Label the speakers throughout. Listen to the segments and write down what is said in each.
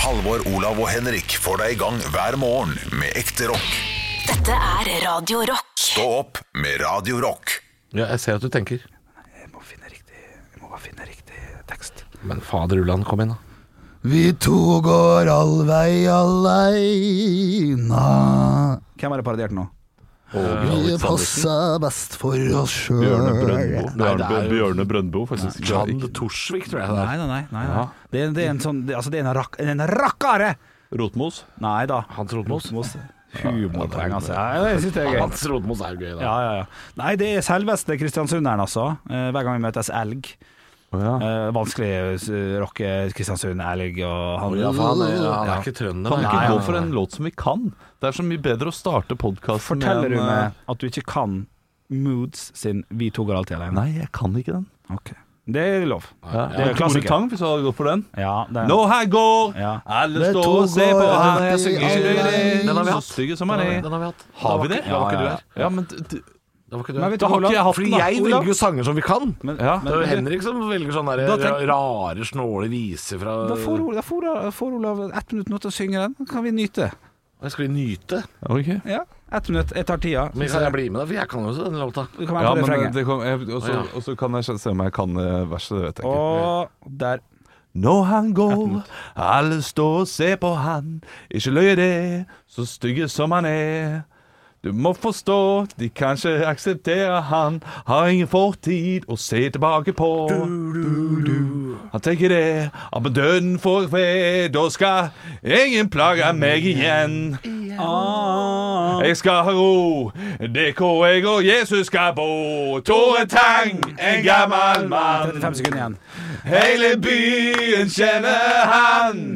Speaker 1: Halvor, Olav og Henrik får deg i gang hver morgen med ekte rock.
Speaker 2: Dette er Radio Rock.
Speaker 1: Stå opp med Radio Rock.
Speaker 3: Ja, jeg ser at du tenker.
Speaker 4: Jeg må finne riktig Jeg må bare finne riktig tekst.
Speaker 3: Men fader Ulland, kom inn, da.
Speaker 4: Vi to går all vei aleina. Hvem har jeg parodiert nå? Eh, Vi passer best for oss sjøl.
Speaker 5: Bjørne Brøndbo.
Speaker 4: Nei,
Speaker 5: Bjørne,
Speaker 3: det er jo-
Speaker 5: Bjørne Brøndbo, faktisk.
Speaker 3: Jan Torsvik, tror jeg det er.
Speaker 4: nei, nei. nei, nei. Det, er, det er en sånn det, Altså, det er en, rak, en rakkare!
Speaker 5: Rotmos.
Speaker 4: Nei da.
Speaker 3: Hans Rotmos.
Speaker 4: Mos. Humorpoeng, altså. Ja, det synes jeg er gøy.
Speaker 3: Hans Rotmos er gøy, da.
Speaker 4: Ja, ja, ja. Nei, det er selveste kristiansunderen, altså. Eh, Hver gang vi møtes elg. Eh, vanskelig å rocke Kristiansund, elg og han
Speaker 3: Ja, for han, er, han er ikke trønder.
Speaker 5: Kan vi
Speaker 3: da.
Speaker 5: ikke
Speaker 4: Nei,
Speaker 5: gå
Speaker 4: nei,
Speaker 5: for en låt som vi kan? Det er så mye bedre å starte podkasten
Speaker 4: Forteller du
Speaker 5: eh,
Speaker 4: meg at du ikke kan Moods sin 'Vi to går alltid alene'?
Speaker 5: Nei, jeg kan ikke den.
Speaker 4: Ok. Det er lov.
Speaker 5: Ja,
Speaker 4: det er
Speaker 5: Tore
Speaker 4: klassiker.
Speaker 5: Tang, hvis du hadde gått for den.
Speaker 4: Ja, det er
Speaker 5: Nå her går,
Speaker 4: Ja.
Speaker 5: alle
Speaker 4: Det
Speaker 5: står
Speaker 4: to
Speaker 5: og
Speaker 4: går
Speaker 5: ser på her når jeg
Speaker 4: alltid
Speaker 5: synger.
Speaker 4: alene.
Speaker 3: Den har vi
Speaker 5: Så
Speaker 3: hatt.
Speaker 5: stygge som han
Speaker 3: Den
Speaker 5: er.
Speaker 3: har vi hatt.
Speaker 5: Har vi det?
Speaker 3: Da var ikke
Speaker 4: Ja,
Speaker 3: du
Speaker 4: ja.
Speaker 3: her.
Speaker 5: Ja, men d- d-
Speaker 3: Da var ikke du
Speaker 4: Men
Speaker 3: her.
Speaker 4: vet du
Speaker 5: Da har
Speaker 4: Olav?
Speaker 5: ikke jeg hatt den,
Speaker 3: Fordi
Speaker 5: da.
Speaker 3: jeg
Speaker 4: Olav?
Speaker 3: velger jo sanger som vi kan.
Speaker 4: Men,
Speaker 5: Ja.
Speaker 3: Det er jo
Speaker 4: men,
Speaker 3: Henrik som velger sånne der,
Speaker 4: Da tenk-
Speaker 3: rare, snåle viser fra
Speaker 4: da får Olav, da får, da får Olav ett minutt nå til å synge den. Da kan vi nyte.
Speaker 3: Skal vi nyte?
Speaker 5: Ok.
Speaker 4: Ja, ett minutt. Jeg tar tida.
Speaker 3: Men kan jeg bli med, da? For jeg kan jo også den låta.
Speaker 4: Du kan være på
Speaker 5: Ja, men eh,
Speaker 4: refrenget.
Speaker 5: det kom, jeg,
Speaker 3: Å,
Speaker 5: også,
Speaker 3: ja.
Speaker 5: også kan jeg se om jeg kan eh, verset, det vet jeg ikke.
Speaker 4: Og der.
Speaker 5: Når han går, alle står og ser på han. Ikke løy det, så stygge som han er. Du må forstå, de kan ikke akseptere han. Har ingen fortid å se tilbake på. Han tenker det, at med døden får fred, da skal ingen plage meg igjen. Jeg skal ha ro, det er hvor jeg og Jesus skal bo. Tore Tang, en gammel mann.
Speaker 4: 35 sekunder igjen.
Speaker 5: Hele byen kjenner han.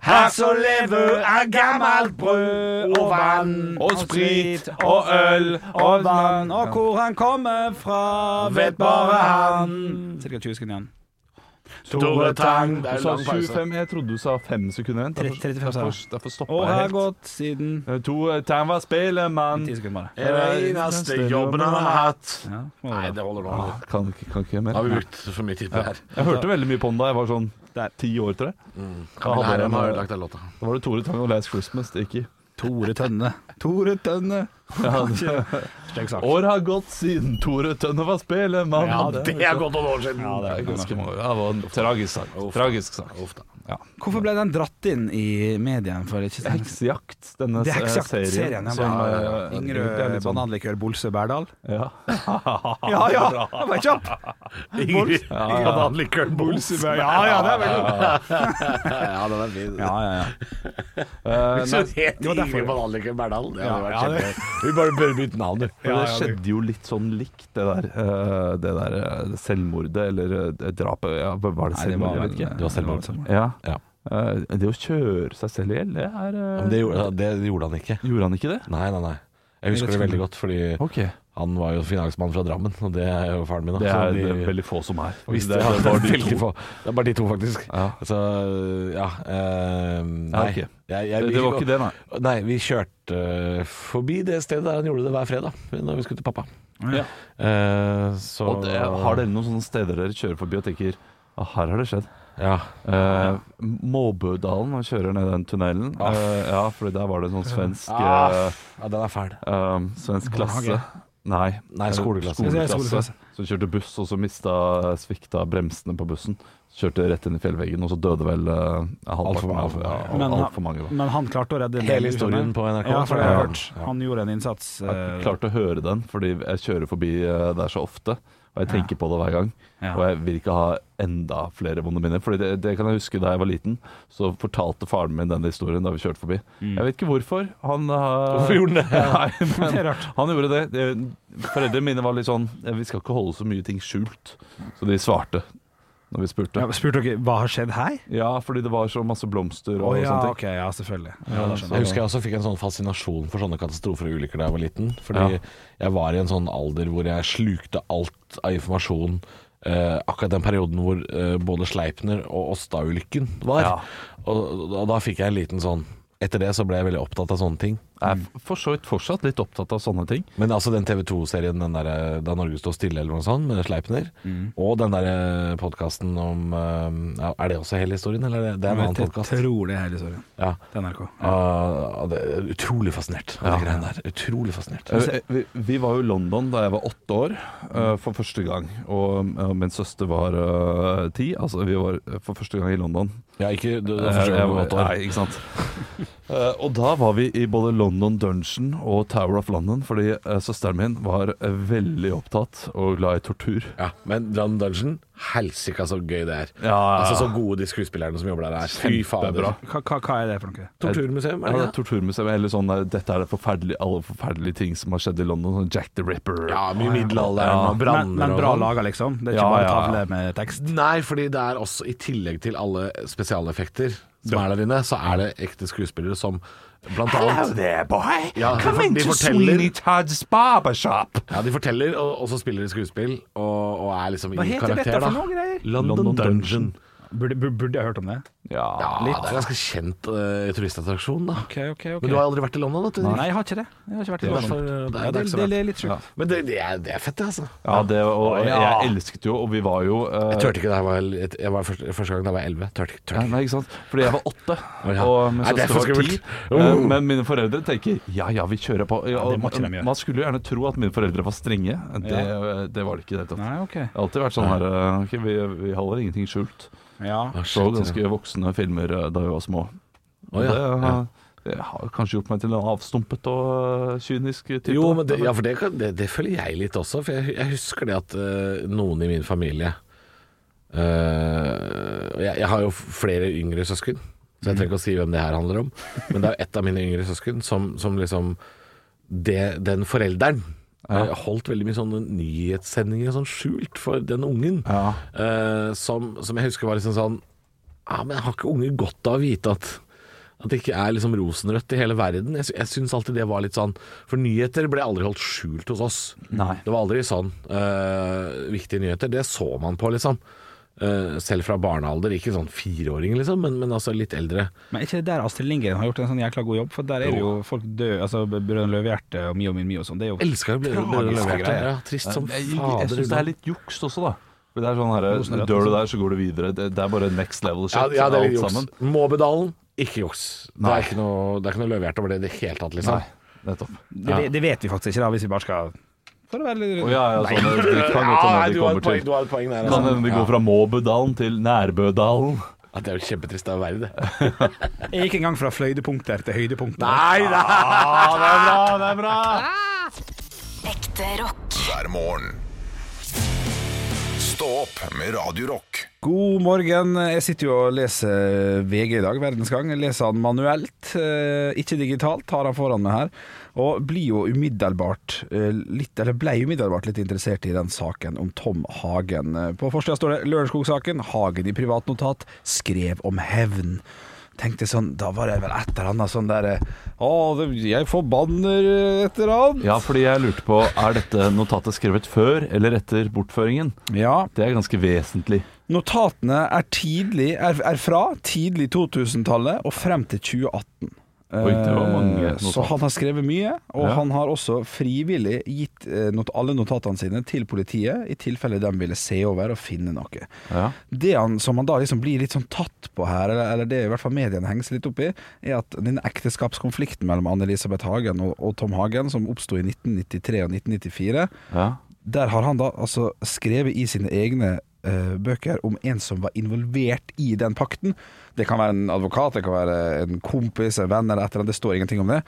Speaker 5: Her så lever av gammelt brød og vann og sprit og øl og vann.
Speaker 4: Og hvor han kommer fra, vet bare han. Cirka 20 sekunder igjen.
Speaker 3: Tore Tang. Det er
Speaker 5: Du
Speaker 3: jo
Speaker 5: sa
Speaker 3: lang pause.
Speaker 5: 25, jeg trodde du sa 5 sekunder Eh, igjen. Derfor-
Speaker 4: 35 sa jeg.
Speaker 5: derfor- Derfor
Speaker 4: Og
Speaker 5: stoppa
Speaker 4: har
Speaker 5: jeg helt.
Speaker 4: gått siden
Speaker 5: Tore Tang var spelemann.
Speaker 4: 10 sekunder bare.
Speaker 3: Det er den eneste jobben han har hatt.
Speaker 4: Ja, må
Speaker 3: Nei,
Speaker 4: det
Speaker 3: det holder nå.
Speaker 5: Ah, Kan ikke, kan ikke mer.
Speaker 3: Da har vi brukt for mye tid på det her.
Speaker 5: Jeg hørte veldig mye på den da jeg var sånn
Speaker 4: Der.
Speaker 5: ti år, tror jeg.
Speaker 3: Kamilla
Speaker 5: hadde
Speaker 3: Herrem
Speaker 5: den,
Speaker 3: har
Speaker 5: eh,
Speaker 3: ødelagt den låta.
Speaker 5: Da var det Tore Tang og Last Christmas det gikk i.
Speaker 4: være. Tore Tønne. Tore Tønne. Stygg sak.
Speaker 5: År har gått siden Tore Tønne var spelemann.
Speaker 3: Det er godt noen år siden.
Speaker 5: Det er ganske mange Det var en tragisk sak. Tragisk sak.
Speaker 4: Hvorfor ble den dratt inn i mediene for ikke så lenge siden?
Speaker 5: Heksejakt, denne
Speaker 4: Det er ikke sagt
Speaker 5: serien.
Speaker 4: serien. ja,
Speaker 5: som,
Speaker 4: bare-
Speaker 5: eh, egentlig er
Speaker 4: Ingerød
Speaker 5: litt sånn-
Speaker 4: bananlikør Bolsø Berdal.
Speaker 5: Ja.
Speaker 4: Ja ja, det var kjapp!
Speaker 3: Ingrid Bananlikøren Bols.
Speaker 4: Ja ja, det er veldig
Speaker 3: Ja, den er fin.
Speaker 4: Ja ja ja.
Speaker 5: Eh,
Speaker 3: Så det
Speaker 5: nei,
Speaker 3: het
Speaker 4: var derfor-
Speaker 3: Ingrid Bananlikøren Berdal. Det hadde
Speaker 4: Ja, ja,
Speaker 3: vært kjempegøy. Vi bare bør bytte navn, du.
Speaker 5: for det skjedde jo litt sånn likt, det der, eh, det der eh, selvmordet eller eh, drapet ja, Var det
Speaker 4: Nei, det
Speaker 5: selvmord?
Speaker 4: var
Speaker 5: Jeg vet
Speaker 4: vel-
Speaker 5: ikke.
Speaker 4: det var selvmord.
Speaker 5: Ja.
Speaker 3: Ja.
Speaker 5: Eh, det å kjøre seg selv i hjel, det er eh,
Speaker 3: Men det gjorde, det gjorde han ikke.
Speaker 5: Gjorde han ikke det?
Speaker 3: Nei, nei, nei. Jeg husker det veldig godt, fordi
Speaker 5: Ok.
Speaker 3: han var jo finansmann fra Drammen, og det er jo faren min. da.
Speaker 5: Det
Speaker 3: Så
Speaker 5: er
Speaker 3: de-
Speaker 5: det veldig få som er.
Speaker 3: Hvis
Speaker 5: Det
Speaker 3: det, ja,
Speaker 5: er- det er
Speaker 3: det,
Speaker 5: bare
Speaker 3: er
Speaker 5: de
Speaker 3: veldig
Speaker 5: to.
Speaker 3: få. det er bare de to, faktisk.
Speaker 5: Ja.
Speaker 3: Så ja eh, Nei.
Speaker 5: ok.
Speaker 3: Jeg- jeg-
Speaker 5: Det, det var ikke det, nei.
Speaker 3: Nei, vi kjørte forbi det stedet der han gjorde det hver fredag, når vi skulle til pappa.
Speaker 5: Ja.
Speaker 3: Eh, så
Speaker 5: Og det, har dere noen sånne steder dere kjører forbi og tenker ah, her har det skjedd?
Speaker 3: Ja.
Speaker 5: Eh, Måbødalen og kjører ned den tunnelen.
Speaker 3: Ah.
Speaker 5: Eh, ja, for der var det en sånn svensk
Speaker 3: Ah.
Speaker 5: eh,
Speaker 3: ja, den er fæl.
Speaker 5: eh, Svensk klasse. Nei,
Speaker 3: Nei,
Speaker 5: eh,
Speaker 3: skoleklasse.
Speaker 4: Skoleklasse.
Speaker 5: skoleklasse. Som kjørte buss, og så mista svikta bremsene på bussen. Så Kjørte rett inn i fjellveggen, og så døde vel uh,
Speaker 3: Alt for
Speaker 5: halvparten
Speaker 3: mange.
Speaker 5: av ja, al-
Speaker 4: Men- Eh.
Speaker 5: alt for mange. Da.
Speaker 4: Men han klarte å redde en
Speaker 3: Hele
Speaker 4: del,
Speaker 3: historien
Speaker 4: skjønner.
Speaker 3: på NRK.
Speaker 4: Ja, for det har jeg
Speaker 3: Ja.
Speaker 4: hørt. Han gjorde en innsats.
Speaker 5: Jeg har
Speaker 4: eh,
Speaker 5: ikke klart å høre den, fordi jeg kjører forbi eh, der så ofte. Og jeg tenker på det hver gang.
Speaker 4: Ja.
Speaker 5: Og jeg vil ikke ha enda flere vonde minner. Fordi det, det kan jeg huske da jeg var liten, så fortalte faren min den historien da vi kjørte forbi.
Speaker 4: Mm.
Speaker 5: Jeg vet ikke hvorfor. Han har-
Speaker 3: Hvorfor gjorde han det?
Speaker 5: Nei, men
Speaker 4: Det er rart.
Speaker 5: Han gjorde det. det. Foreldrene mine var litt sånn "Ja, Vi skal ikke holde så mye ting skjult. Så de svarte når vi
Speaker 4: Ja,
Speaker 5: spurte.
Speaker 4: spurte dere hva har skjedd her?
Speaker 5: Ja, fordi det var så masse blomster
Speaker 4: Å
Speaker 5: og
Speaker 4: ja,
Speaker 5: sånne ting.
Speaker 4: ok, ja, selvfølgelig. Ja, da skjønner
Speaker 3: sånn Jeg husker jeg også fikk en sånn fascinasjon for sånne katastrofer og ulykker da jeg var liten. Fordi
Speaker 5: Ja.
Speaker 3: jeg var i en sånn alder hvor jeg slukte alt av informasjon. eh, akkurat den perioden hvor eh, både Sleipner og Åsta-ulykken var.
Speaker 5: Ja.
Speaker 3: Og, og da fikk jeg en liten sånn Etter det så ble jeg veldig opptatt av sånne ting.
Speaker 5: Jeg er for så vidt fortsatt litt opptatt av sånne ting.
Speaker 3: Men altså den TV 2-serien den der, eh, da Norge står stille eller noe sånt, med Sleipner,
Speaker 5: Mm.
Speaker 3: og den der podkasten om eh, ja, Er det også hele historien, eller er det, det er en annen
Speaker 4: Jeg
Speaker 3: podkast?
Speaker 4: tror det er hele historien
Speaker 3: Ja.
Speaker 4: til NRK.
Speaker 3: Ah, det er utrolig fascinert av de greiene der. Utrolig fascinert.
Speaker 5: Eh, Vi, vi var jo i London da jeg var åtte år eh, for første gang. Og eh, min søster var eh, ti. Altså, vi var eh, for første gang i London.
Speaker 3: Ja, ikke du, du
Speaker 5: Eh,
Speaker 3: forstår
Speaker 5: jeg
Speaker 3: du
Speaker 5: var-
Speaker 3: godt år.
Speaker 5: Nei, ikke sant. Eh, og da var vi i både London Dungeon og Tower of London, fordi eh, søsteren min var eh, veldig opptatt og glad i tortur.
Speaker 3: Ja, men Dran Dungeon, helsike så gøy det er.
Speaker 5: ja, ja.
Speaker 3: Altså Så gode de skuespillerne som jobber der er. Fy fader.
Speaker 5: Kjempebra.
Speaker 4: Hva, hva, hva er det for noe?
Speaker 3: Torturmuseum, er det
Speaker 5: Ja, det er
Speaker 3: ikke det?
Speaker 5: torturmuseum, eller sånn der, Dette er det forferdelige, alle forferdelige ting som har skjedd i London. Sånn Jack the Ripper.
Speaker 3: Ja, mye middelalderen
Speaker 5: Ja.
Speaker 3: og
Speaker 4: Men,
Speaker 3: branner
Speaker 4: men bra
Speaker 3: og sånn.
Speaker 4: laga, liksom? Det er ikke
Speaker 5: Ja,
Speaker 4: bare
Speaker 5: ja, ja.
Speaker 4: tavle med tekst?
Speaker 3: Nei, fordi det er også i tillegg til alle spesialeffekter som er der inne, så er det ekte skuespillere som blant annet
Speaker 5: there, boy.
Speaker 3: Ja, de for- de forteller-
Speaker 5: Todd's barbershop.
Speaker 3: Ja, de forteller, og, og så spiller de skuespill, og, og er liksom
Speaker 5: Hva
Speaker 3: i
Speaker 5: heter
Speaker 3: karakter,
Speaker 5: dette for
Speaker 3: da.
Speaker 5: noe greier?
Speaker 3: London,
Speaker 5: London
Speaker 3: Dungeon.
Speaker 5: Dungeon.
Speaker 4: Burde, bur- burde jeg hørt om det?
Speaker 5: Ja.
Speaker 3: Ja, det er ganske kjent eh, turistattraksjon, da.
Speaker 4: ok,
Speaker 3: Men du har aldri vært i London, vet du.
Speaker 4: Nei, jeg har ikke det. Jeg har ikke vært i
Speaker 3: Det er
Speaker 4: London.
Speaker 3: derfor- det er-
Speaker 4: Ja,
Speaker 3: det er
Speaker 4: det,
Speaker 3: ikke så
Speaker 4: det,
Speaker 3: bra.
Speaker 4: er litt sjukt.
Speaker 3: Men det, det, er, det er fett, det, altså.
Speaker 5: ja, det og, og
Speaker 3: Ja.
Speaker 5: jeg elsket jo, og vi var jo eh,
Speaker 3: Jeg turte ikke da jeg var, jeg var første, første gang da jeg var elleve. Turte ikke.
Speaker 5: ja,
Speaker 3: Turte ikke.
Speaker 5: Nei, ikke sant? Fordi jeg var åtte,
Speaker 3: ja.
Speaker 5: og min
Speaker 3: Nei, det er
Speaker 5: søster
Speaker 3: for
Speaker 5: var ti.
Speaker 3: skummelt.
Speaker 5: Eh,
Speaker 3: Uh.
Speaker 5: Men mine foreldre tenker ja ja, vi kjører på. Ja,
Speaker 4: det må
Speaker 5: og
Speaker 4: ikke de gjøre.
Speaker 5: man skulle jo gjerne tro at mine foreldre var strenge. Det, det var det ikke i det hele tatt.
Speaker 4: Nei, ok.
Speaker 5: Det har alltid vært sånn her eh, ok, vi, vi holder ingenting skjult.
Speaker 4: Ja.
Speaker 5: Så ganske voksne filmer eh, da vi var små.
Speaker 3: Å, ja.
Speaker 5: Det, eh,
Speaker 3: Ja.
Speaker 5: det har kanskje gjort meg til en avstumpet og eh, kynisk type.
Speaker 3: Jo, men det, ja, for det, kan, det, det føler jeg litt også. For jeg, jeg husker det at eh, noen i min familie eh, jeg, jeg har jo flere yngre søsken, så jeg trenger ikke å si hvem det her handler om. Men det er jo et av mine yngre søsken som, som liksom det, Den forelderen eh, holdt veldig mye sånne nyhetssendinger og sånn skjult for den ungen.
Speaker 5: Ja.
Speaker 3: eh, som, som jeg husker var liksom sånn Ja, men har ikke unger godt av å vite at at det ikke er liksom rosenrødt i hele verden. Jeg, sy- jeg syns alltid det var litt sånn For nyheter ble aldri holdt skjult hos oss.
Speaker 5: Nei.
Speaker 3: Det var aldri sånn eh, viktige nyheter. Det så man på, liksom. Eh, selv fra barnealder. Ikke sånn fireåring, liksom, men, men altså litt eldre.
Speaker 4: Men er ikke det der Astrid Lindgren har gjort en sånn jækla god jobb? For der er det jo folk døde, altså Brødrene Løvehjerte og Mio min Mio og sånn. Det er jo
Speaker 3: Elska jo
Speaker 4: Tragiske
Speaker 3: Blødreløverte.
Speaker 4: greier.
Speaker 3: Ja, trist som
Speaker 5: jeg jeg, jeg
Speaker 3: fader. liksom.
Speaker 5: syns det er litt juks også, da. For det er sånn her, Dør du der, så går du videre. Det, det er bare next level shit.
Speaker 3: altså? ja, ja, det er litt
Speaker 5: alt
Speaker 3: juks.
Speaker 5: sammen.
Speaker 3: Måbedalen, ikke juks. Det
Speaker 5: Nei.
Speaker 3: er ikke noe, det er ikke noe løvehjerte over det i det hele tatt, liksom.
Speaker 5: Nei, nettopp.
Speaker 4: det, det, det vet vi faktisk ikke, da, hvis vi bare skal For å være litt
Speaker 5: Å ja, ja, sånn, det kan godt
Speaker 3: Ja, nei, du har
Speaker 5: hende de kommer
Speaker 3: et poeng,
Speaker 5: til
Speaker 3: du har et poeng der.
Speaker 5: Kan
Speaker 3: altså.
Speaker 5: hende de går fra Måbødalen til Nærbødalen.
Speaker 3: Ja, det er jo kjempetrist. Det er jo verre, det.
Speaker 4: Jeg gikk en gang fra fløydepunkter til høydepunkter.
Speaker 3: Nei, nei.
Speaker 5: Ja, det er bra! det er bra
Speaker 2: Ekte rock.
Speaker 1: hver morgen. Stå opp med Radio Rock.
Speaker 4: God morgen. Jeg sitter jo og leser VG i dag, Verdensgang. Jeg leser han manuelt, eh, ikke digitalt, har han foran meg her. Og blir jo umiddelbart eh, litt, eller ble umiddelbart litt interessert i den saken om Tom Hagen. Eh, På forsida står det 'Lørenskog-saken. Hagen i privatnotat skrev om hevn'. Tenkte sånn, Da var det vel et eller annet sånn derre Å, det- jeg forbanner et eller annet.
Speaker 5: Ja, fordi jeg lurte på Er dette notatet skrevet før eller etter bortføringen?
Speaker 4: ja.
Speaker 5: Det er ganske vesentlig.
Speaker 4: Notatene er, tidlig, er, er fra tidlig 2000-tallet og frem til 2018.
Speaker 5: Oi, det var mange
Speaker 4: Eh, Så
Speaker 5: notater.
Speaker 4: han har skrevet mye, og
Speaker 5: Ja.
Speaker 4: han har også frivillig gitt eh, not alle notatene sine til politiet, i tilfelle de ville se over og finne noe.
Speaker 5: Ja.
Speaker 4: Det han, som han da liksom blir litt sånn tatt på her, eller, eller det i hvert fall mediene henger seg litt opp i, er at den ekteskapskonflikten mellom Anne-Elisabeth Hagen og, og Tom Hagen, som oppsto i 1993 og 1994,
Speaker 5: Ja.
Speaker 4: der har han da altså skrevet i sine egne eh, bøker om en som var involvert i den pakten. Det kan være en advokat, det kan være en kompis, en venn eller et eller annet. Det står ingenting om det.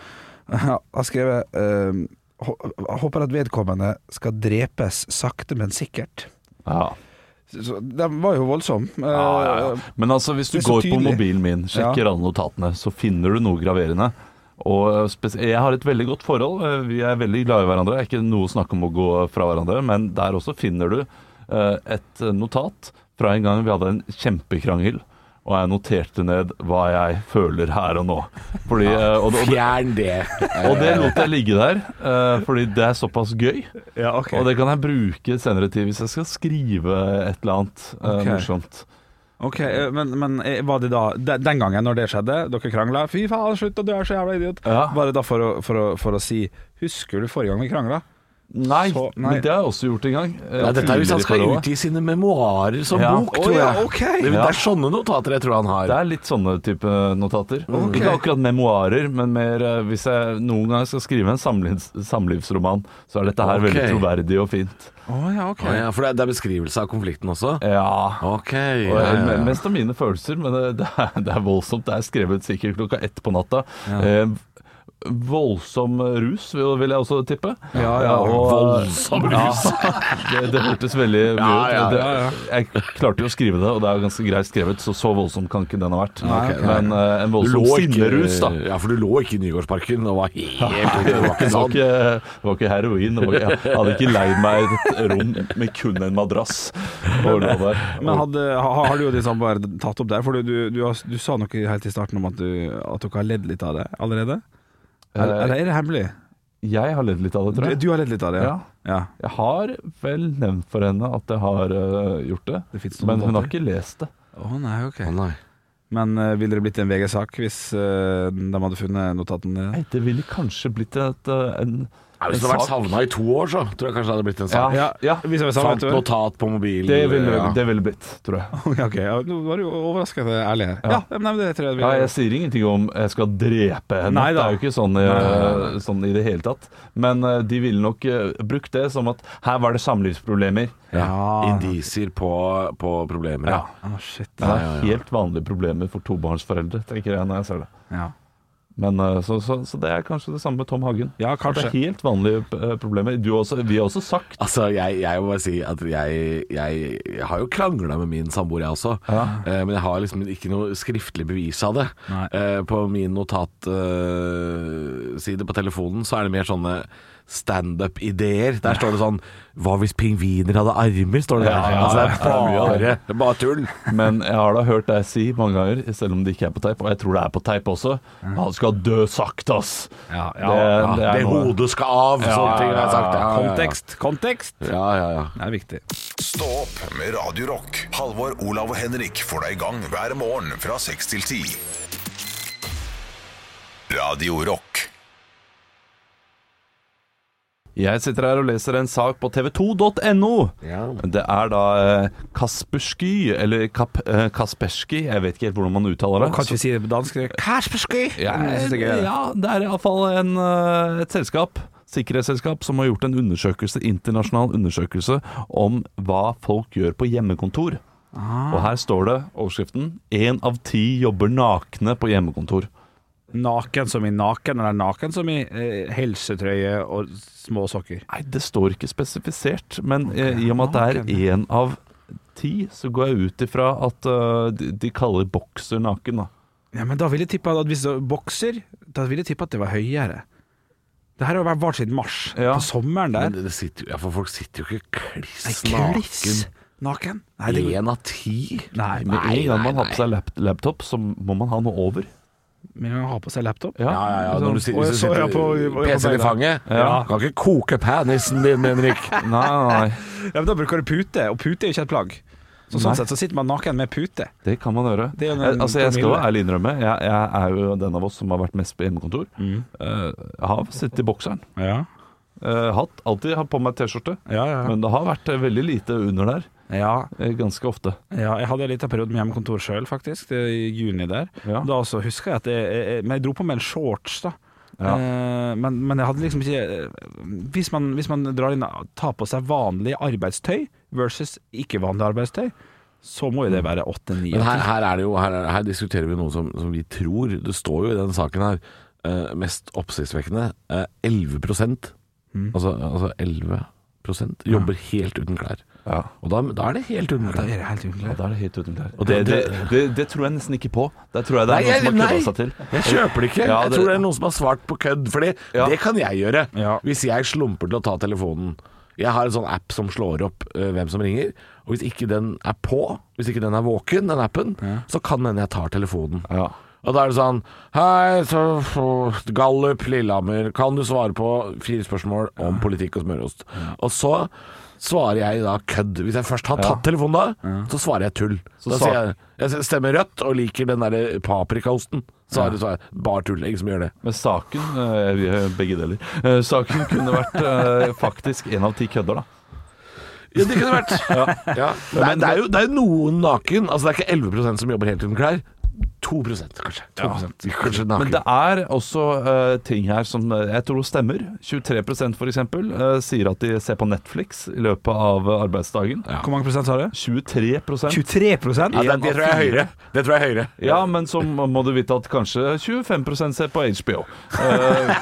Speaker 4: Han har skrevet eh, «Hå- Håper at vedkommende skal drepes sakte, men sikkert.
Speaker 5: Ja.
Speaker 4: Så- Så, den var jo voldsom. Eh,
Speaker 5: Ja, ja, ja. Men altså, hvis du
Speaker 4: Det er så
Speaker 5: går på
Speaker 4: tydelig.
Speaker 5: mobilen min, sjekker alle notatene, så finner du noe graverende. Og eh, spes- jeg har et veldig godt forhold. eh, Vi er veldig glad i hverandre. Det er ikke noe snakk om å gå fra hverandre, men der også finner du eh, et notat fra en gang vi hadde en kjempekrangel. Og jeg noterte ned hva jeg føler her og nå. Fordi, eh, og, det- og, det-
Speaker 3: Fjern det.
Speaker 5: og det lot jeg ligge der, eh, fordi det er såpass gøy.
Speaker 4: ja, ok.
Speaker 5: Og det kan jeg bruke senere tid hvis jeg skal skrive et eller annet eh,
Speaker 4: Ok.
Speaker 5: morsomt.
Speaker 4: Ok, eh, Men, men eh, var det da de- Den gangen når det skjedde, dere krangla 'Fy faen, slutt, og du er så jævla idiot',
Speaker 5: Ja.
Speaker 4: var det da for å, for, å, for å si 'Husker du forrige gang vi krangla?'
Speaker 5: Nei,
Speaker 4: Så- nei.
Speaker 5: men det har jeg også gjort en gang. Eh,
Speaker 3: Ja, dette er hvis han
Speaker 5: tidligere
Speaker 3: skal
Speaker 5: på året.
Speaker 3: utgi sine memoarer som
Speaker 5: Ja.
Speaker 3: bok,
Speaker 4: Å
Speaker 3: tror jeg.
Speaker 4: ja, ok.
Speaker 3: det, det
Speaker 5: Ja.
Speaker 3: er sånne notater jeg tror han har.
Speaker 5: Det er litt sånne type notater.
Speaker 4: Mm.
Speaker 5: Ikke akkurat memoarer, men mer eh, hvis jeg noen gang skal skrive en samlivs, samlivsroman, så er dette her
Speaker 3: Ok.
Speaker 5: veldig troverdig og fint.
Speaker 4: Å ja, ok.
Speaker 3: Å ja, for det er, det er beskrivelse av konflikten også?
Speaker 5: Ja.
Speaker 3: Ok.
Speaker 5: Og,
Speaker 3: ja, ja,
Speaker 5: eh,
Speaker 3: ja.
Speaker 5: Mest av mine følelser, men det, det, er, det er voldsomt. Det er skrevet sikkert klokka ett på natta. Eh, voldsom rus, vil vil jeg også tippe.
Speaker 4: Ja, ja.
Speaker 5: voldsom rus! Ja, det, det hørtes veldig mye
Speaker 3: Ja, ja,
Speaker 5: ut. Det,
Speaker 3: ja,
Speaker 5: jeg klarte jo å skrive det, og det er jo ganske greit skrevet, så så voldsom kan ikke den ha vært. Men eh, en
Speaker 3: Du
Speaker 5: voldsom
Speaker 3: lå ikke-
Speaker 5: sinnerus, da.
Speaker 3: Ja, for du lå ikke i Nygårdsparken og var helt Det var ikke
Speaker 5: Det var
Speaker 3: sånn.
Speaker 5: ikke, det var ikke heroin. Det var ikke, jeg hadde ikke leid meg et rom med kun en madrass. Og lå der.
Speaker 4: Men hadde, ha- har du og de samme bare tatt opp der? For du, du, du, har- du sa noe helt i starten om at, du, at dere har ledd litt av det allerede? Eller,
Speaker 3: Eh,
Speaker 4: eller er det hemmelig?
Speaker 5: Jeg har ledd litt av det,
Speaker 4: Du,
Speaker 5: tror jeg.
Speaker 4: du har ledd litt av det, ja? ja.
Speaker 5: Jeg har vel nevnt for henne at jeg har øh, gjort det,
Speaker 4: Det finnes noen
Speaker 5: men hun har
Speaker 4: måter.
Speaker 5: ikke lest det.
Speaker 4: Å nei, ok.
Speaker 3: Å nei.
Speaker 4: Men eh, ville det blitt en VG-sak hvis eh, de hadde funnet notatene?
Speaker 5: Nei, det ville kanskje blitt et, øh, en,
Speaker 3: Nei,
Speaker 5: en
Speaker 3: Hvis du hadde vært savna i to år, så tror jeg kanskje det hadde blitt en sak.
Speaker 5: Ja, ja.
Speaker 4: Hvis jeg var sammen,
Speaker 3: Fant
Speaker 4: vet du.
Speaker 3: notat på mobilen.
Speaker 5: Det ville,
Speaker 3: ja.
Speaker 5: det ville blitt, tror jeg.
Speaker 4: Ja, ok, ja, nå var du jo overrasket eh, ærlig her. Ja, men nei, men det tror jeg vi
Speaker 5: Ja, jeg sier ingenting om jeg skal drepe henne.
Speaker 4: Nei da.
Speaker 5: Det er jo ikke sånn, i- sånn i det hele tatt. Men øh, de ville nok øh, brukt det som at her var det samlivsproblemer.
Speaker 4: Ja.
Speaker 3: Indisier på, på problemer, ja.
Speaker 4: Ah, shit.
Speaker 5: Det er helt vanlige problemer for tobarnsforeldre, tenker jeg når jeg ser det.
Speaker 4: Ja.
Speaker 5: Men, eh, så, så, så det er kanskje det samme med Tom Hagen.
Speaker 4: Ja, kanskje.
Speaker 5: Det er helt vanlige eh, problemer. Du har også, vi har også sagt
Speaker 3: Altså, jeg, jeg må bare si at jeg, jeg, jeg har jo krangla med min samboer, jeg også. Eh, men jeg har liksom ikke noe skriftlig bevis av det.
Speaker 4: Nei.
Speaker 3: Eh, på min notatside på telefonen så er det mer sånne standup-ideer. Der står det sånn 'Hva hvis pingviner hadde armer?' står det der.
Speaker 5: Ja, ja,
Speaker 3: altså, det
Speaker 5: ja, det er mye av
Speaker 3: er bare,
Speaker 5: det.
Speaker 3: det er bare tull.
Speaker 5: Men jeg har da hørt deg si mange ganger, selv om det ikke er på teip, og jeg tror det er på teip også, han skal dø sakte, ass.
Speaker 4: Ja, ja,
Speaker 3: Ja, det,
Speaker 5: noe-
Speaker 3: hodet skal av,
Speaker 5: Ja,
Speaker 3: sånne ting
Speaker 5: ja,
Speaker 3: har jeg sagt. Ja, ja, ja.
Speaker 4: Kontekst, kontekst!
Speaker 3: Ja, ja, ja.
Speaker 4: Det er viktig.
Speaker 1: Stå opp med Radio Rock. Halvor, Olav og Henrik får deg i gang hver morgen fra 6 til 10. Radio Rock.
Speaker 5: Jeg sitter her og leser en sak på tv2.no. Det er da eh, Kaspersky, eller Kap, eh, Kaspersky, jeg vet ikke helt hvordan man uttaler det.
Speaker 4: Kan ikke vi si det på dansk? Kaspersky!
Speaker 5: Ja,
Speaker 4: Jeg synes det er gøy.
Speaker 5: ja, det er iallfall eh, et selskap, sikkerhetsselskap, som har gjort en undersøkelse, internasjonal undersøkelse om hva folk gjør på hjemmekontor.
Speaker 4: Ah.
Speaker 5: Og her står det, overskriften, én av ti jobber nakne på hjemmekontor.
Speaker 4: Naken som i naken, eller naken som i eh, helsetrøye og små sokker.
Speaker 5: Nei, det står ikke spesifisert, men eh, i og med at det er én av ti, så går jeg ut ifra at eh, de, de kaller bokser naken, da.
Speaker 4: Ja, men da vil jeg tippe at hvis det var bokser, da vil jeg tippe at det var høyere. Det her har vært vart siden mars,
Speaker 5: Ja.
Speaker 4: på sommeren
Speaker 3: Men
Speaker 4: der.
Speaker 3: det, det sitter, jo- ja, for folk sitter jo ikke
Speaker 4: Nei,
Speaker 3: kliss
Speaker 4: kliss
Speaker 3: naken.
Speaker 4: naken. Nei, det,
Speaker 3: Én av ti?
Speaker 4: nei,
Speaker 5: Med
Speaker 4: nei.
Speaker 5: en gang
Speaker 3: nei,
Speaker 5: man har på seg lap laptop, så må man ha noe over.
Speaker 4: Men man har på seg laptop.
Speaker 5: Ja,
Speaker 3: Ja, ja, ja. Når du sitter,
Speaker 4: Og
Speaker 3: hvis
Speaker 4: jeg
Speaker 3: du
Speaker 4: så
Speaker 3: sitter
Speaker 4: jeg på- jeg på
Speaker 3: PC-en i
Speaker 4: beina.
Speaker 3: fanget.
Speaker 4: Ja.
Speaker 3: Kan ikke koke penisen din, Henrik.
Speaker 5: Nei, nei, nei.
Speaker 4: Ja, men Da bruker du pute, og pute er jo ikke et plagg. Så Sånn
Speaker 5: Nei.
Speaker 4: sett så sitter man naken med pute.
Speaker 5: Det kan man gjøre.
Speaker 4: Det er jo
Speaker 5: jeg,
Speaker 4: en
Speaker 5: altså, jeg skal jo
Speaker 4: promille.
Speaker 5: ærlig innrømme, jeg, jeg er jo den av oss som har vært mest på hjemmekontor. Eh, jeg har sittet i bokseren.
Speaker 4: Ja,
Speaker 5: Eh, hatt, alltid hatt på meg T-skjorte.
Speaker 4: ja, ja.
Speaker 5: Men det har vært eh, veldig lite under der.
Speaker 4: ja,
Speaker 5: eh, ganske ofte.
Speaker 4: ja jeg hadde en liten periode med hjemmekontor sjøl, faktisk, det, i juni der.
Speaker 5: Ja.
Speaker 4: Da også husker jeg at jeg, jeg, jeg, Men jeg dro på meg en shorts, da.
Speaker 5: Ja.
Speaker 4: Eh, men, men jeg hadde liksom ikke eh, hvis man, hvis man drar inn tar på seg vanlig arbeidstøy versus ikke-vanlig arbeidstøy, så må jo det være åtte-ni.
Speaker 3: Men her, her, er det jo, her, er- her diskuterer vi noe som, som vi tror Det står jo i den saken her eh, mest oppsiktsvekkende. eh, 11
Speaker 4: Mm.
Speaker 3: altså, altså 11 jobber helt uten klær.
Speaker 5: Ja.
Speaker 3: Og da, da er det helt uten
Speaker 4: Da
Speaker 3: klær.
Speaker 4: er det helt
Speaker 5: Ja,
Speaker 4: uklart.
Speaker 5: da er det helt uten klær.
Speaker 3: Og
Speaker 5: det,
Speaker 3: det-
Speaker 5: det, det, det tror jeg nesten ikke på. Der tror jeg det er noen som har kødda seg til.
Speaker 3: jeg kjøper det ikke.
Speaker 5: Ja,
Speaker 3: Jeg
Speaker 5: det-
Speaker 3: tror det er noen som har svart på kødd, Fordi
Speaker 5: Ja.
Speaker 3: det kan jeg gjøre.
Speaker 4: Ja.
Speaker 3: Hvis jeg slumper til å ta telefonen. Jeg har en sånn app som slår opp eh, hvem som ringer. Og hvis ikke den er på, hvis ikke den er våken, den appen, så kan hende jeg tar telefonen.
Speaker 5: Ja.
Speaker 3: Og da er det sånn Hei, så, så Gallup, Lillehammer, kan du svare på fire spørsmål om politikk og smørost? Og så svarer jeg da kødd. Hvis jeg først har tatt telefonen da, så svarer jeg tull. da
Speaker 5: sa-
Speaker 3: sier jeg jeg stemmer rødt og liker den derre paprikaosten. Så er det så er det bare tull. Ingen som gjør det.
Speaker 5: Men saken eh, vi gjør Begge deler. Eh, Saken kunne vært eh, faktisk en av ti kødder, da.
Speaker 3: Ja, det kunne vært. ja. Nei, det, er jo, det er jo noen naken. Altså, det er ikke 11 som jobber helt uten klær. 2 kanskje. 2%. kanskje naken.
Speaker 5: Men det er også eh, ting her som eh, jeg tror stemmer. 23 f.eks. Uh, sier at de ser på Netflix i løpet av eh, arbeidsdagen.
Speaker 4: Hvor mange prosent sa du?
Speaker 5: 23
Speaker 4: 23 prosent?
Speaker 3: ja, det, det tror jeg er høyere. Det tror jeg er høyere.
Speaker 5: ja, men så må du vite at kanskje 25 ser på HBO. Eh,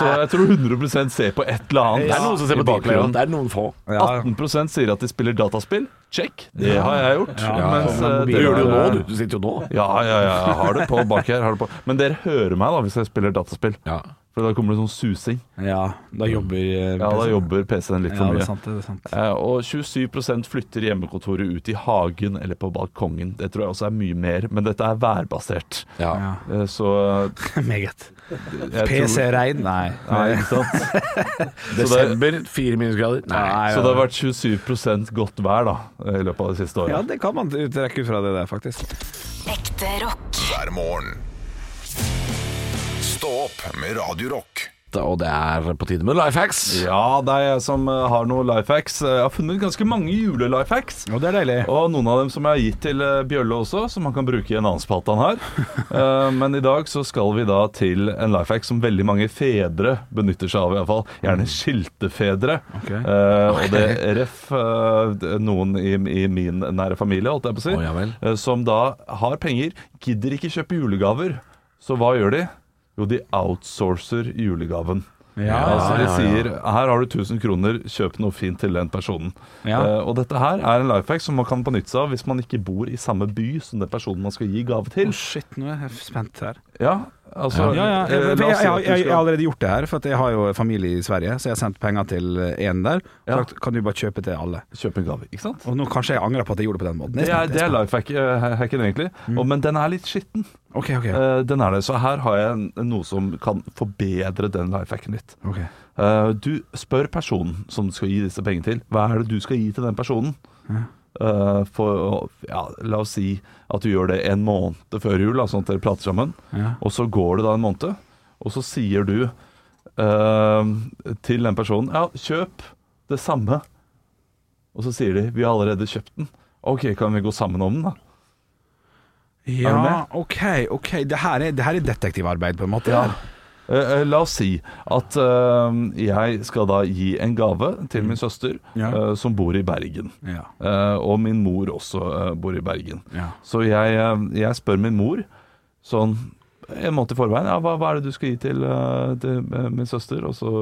Speaker 5: så jeg tror 100 ser på et eller annet.
Speaker 3: Det er noen som ser
Speaker 5: i
Speaker 3: på bakgrunnen.
Speaker 5: bakgrunnen.
Speaker 3: Det er noen få.
Speaker 4: Ja.
Speaker 5: 18 sier at de spiller dataspill. Check, det har jeg gjort. mens, eh,
Speaker 3: Du
Speaker 5: dere-
Speaker 3: gjør det jo nå, du. Du sitter jo nå.
Speaker 5: Ja, ja, ja. Jeg har det på bak her. Har det på. Men dere hører meg da hvis jeg spiller dataspill.
Speaker 3: Ja.
Speaker 5: For da kommer det sånn susing.
Speaker 4: Ja, da jobber eh,
Speaker 5: Ja, da jobber PC-en litt
Speaker 4: Ja, det
Speaker 5: for
Speaker 4: er
Speaker 5: mye.
Speaker 4: sant. Det er sant.
Speaker 5: Eh, Og 27 flytter hjemmekontoret ut i hagen eller på balkongen. Det tror jeg også er mye mer, men dette er værbasert.
Speaker 3: Ja.
Speaker 4: Ja.
Speaker 5: Eh, Så
Speaker 4: Meget.
Speaker 5: jeg tror
Speaker 4: PC-regn? Nei.
Speaker 5: Nei, ikke sant?
Speaker 3: Desember, fire minusgrader. Nei.
Speaker 5: Så det har vært 27 godt vær da i løpet av det siste
Speaker 4: Ja,
Speaker 5: året.
Speaker 4: det kan man trekke ut fra det der, faktisk.
Speaker 2: Ekte rock.
Speaker 1: hver morgen. Stå opp med Radio Rock.
Speaker 3: Og det er på tide med life hacks.
Speaker 5: Ja, det er jeg som eh, har noen life hacks. Eh, Jeg har funnet ganske mange julelife hacks.
Speaker 4: Og det er deilig.
Speaker 5: Og noen av dem som jeg har gitt til eh, Bjølle også, som han kan bruke i en annen spalte han har. Eh, Men i dag så skal vi da til en life hack som veldig mange fedre benytter seg av, iallfall. Gjerne
Speaker 3: Mm.
Speaker 5: skiltefedre.
Speaker 4: Ok.
Speaker 5: Eh, Og det ref eh, d- noen i, i min nære familie, holdt jeg på å si,
Speaker 3: Å, ja vel.
Speaker 5: eh, som da har penger, gidder ikke kjøpe julegaver. Så hva gjør de? Jo, de outsourcer julegaven.
Speaker 4: Ja,
Speaker 5: altså
Speaker 3: ja,
Speaker 5: De
Speaker 3: ja.
Speaker 5: sier her har du 1000 kroner, kjøp noe fint til den personen.
Speaker 4: Ja.
Speaker 5: Eh, og dette her er en life hack som man kan benytte seg av hvis man ikke bor i samme by som den personen man skal gi gave til.
Speaker 4: Shit, nå er jeg spent her.
Speaker 5: Ja, altså
Speaker 4: Ja, ja.
Speaker 5: eh,
Speaker 4: Jeg, jeg,
Speaker 5: la oss si at
Speaker 4: jeg,
Speaker 5: du
Speaker 4: jeg, jeg har
Speaker 5: skal-
Speaker 4: allerede gjort det her, for at jeg har jo familie i Sverige, så jeg har sendt penger til én der.
Speaker 5: Ja.
Speaker 4: Sagt, kan du bare kjøpe til alle?
Speaker 5: Kjøp en gave, ikke sant?
Speaker 4: Og nå kanskje jeg angrer på at jeg gjorde det på den måten.
Speaker 5: Det er,
Speaker 4: spent,
Speaker 5: det er
Speaker 4: jeg
Speaker 5: life hack- eh, hacken, egentlig.
Speaker 4: Mm.
Speaker 5: Og, men den er litt skitten.
Speaker 4: spent. Ok, ok.
Speaker 5: Eh, den er det. Så her har jeg en- noe som kan forbedre den life hacken litt.
Speaker 4: ok.
Speaker 5: Eh, du spør personen som du skal gi disse pengene til, hva er det du skal gi til den personen? Eh, for, å- ja, la oss si at du gjør det en måned før jul, da, sånn at dere prater sammen.
Speaker 4: Ja.
Speaker 5: Og så går det da en måned, og så sier du eh, til den personen Ja, kjøp det samme. Og så sier de Vi har allerede kjøpt den. OK, kan vi gå sammen om den, da? Er du
Speaker 4: Ja,
Speaker 5: med?
Speaker 4: ok, ok. Det her er, det her er detektivarbeid, på en måte.
Speaker 5: Ja. Eh, eh, La oss si at eh, jeg skal da gi en gave til min søster
Speaker 4: Mm. Ja.
Speaker 5: eh, som bor i Bergen.
Speaker 4: Ja.
Speaker 5: Eh, og min mor også eh, bor i Bergen.
Speaker 4: Ja.
Speaker 5: Så jeg, eh, jeg spør min mor sånn en måned i forveien ja, hva, hva er det du skal gi til, eh, til eh, min søster? Og så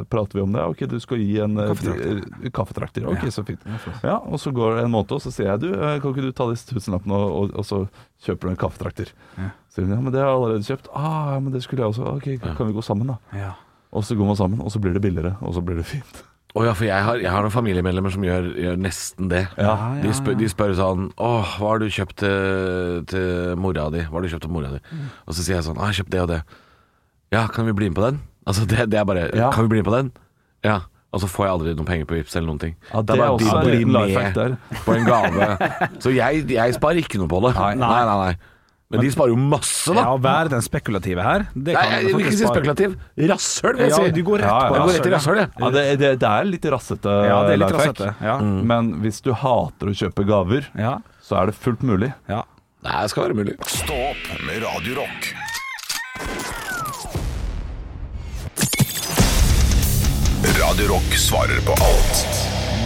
Speaker 5: eh, prater vi om det. Ok, du skal gi en eh,
Speaker 4: Kaffetrakter.
Speaker 5: eh, kaffetrakter. Ok, så fint. Ja, og så går det en måned, og så sier jeg du, eh, kan ikke du ta disse tusenlappene og, og, og så kjøper du en kaffetrakter?
Speaker 4: Ja.
Speaker 5: Så sier hun ja, men det har jeg allerede kjøpt. Ah, ja, men det skulle jeg også. Ok, kan vi gå sammen, da?
Speaker 4: Ja.
Speaker 5: Og så går man sammen, og så blir det billigere, og så blir det fint.
Speaker 3: Å ja, for jeg har, jeg har noen familiemedlemmer som gjør, gjør nesten det.
Speaker 5: Ja,
Speaker 3: De, spør, de spør sånn Åh, hva har du kjøpt til, til mora di? Hva har du kjøpt til mora di? Og så sier jeg sånn «Ah, Jeg har kjøpt det og det. Ja, kan vi bli med på den? Altså det, det er bare
Speaker 5: Ja.
Speaker 3: Kan vi bli med på den? Ja. Og så får jeg aldri noen penger på Vipps eller noen ting.
Speaker 5: Ja, det er
Speaker 3: bare
Speaker 5: også
Speaker 3: de
Speaker 5: en liten
Speaker 3: blir
Speaker 5: life hack der.
Speaker 3: på en gave. Så jeg, jeg sparer ikke noe på det.
Speaker 5: Nei.
Speaker 3: nei, nei. nei. Men de sparer jo masse, da.
Speaker 4: Ja, å være den spekulative her
Speaker 3: Nei,
Speaker 4: det kan
Speaker 3: jeg vil
Speaker 4: folk
Speaker 3: ikke si
Speaker 4: spare.
Speaker 3: spekulativ. Rasshøl, vil jeg
Speaker 4: Ja,
Speaker 3: si.
Speaker 4: du går rett
Speaker 5: Ja, ja,
Speaker 4: på
Speaker 3: Jeg går
Speaker 4: rasshøl,
Speaker 3: rett i rasshøl, jeg.
Speaker 5: Ja, det, det, det er litt rassete Mm.
Speaker 4: Ja, det er litt
Speaker 5: life hack.
Speaker 4: rassete. Ja.
Speaker 5: Men hvis du hater å kjøpe gaver,
Speaker 4: Ja.
Speaker 5: så er det fullt mulig.
Speaker 4: Ja.
Speaker 3: Nei, det skal være mulig.
Speaker 1: Stå opp med Radio Rock. Radio Rock svarer på alt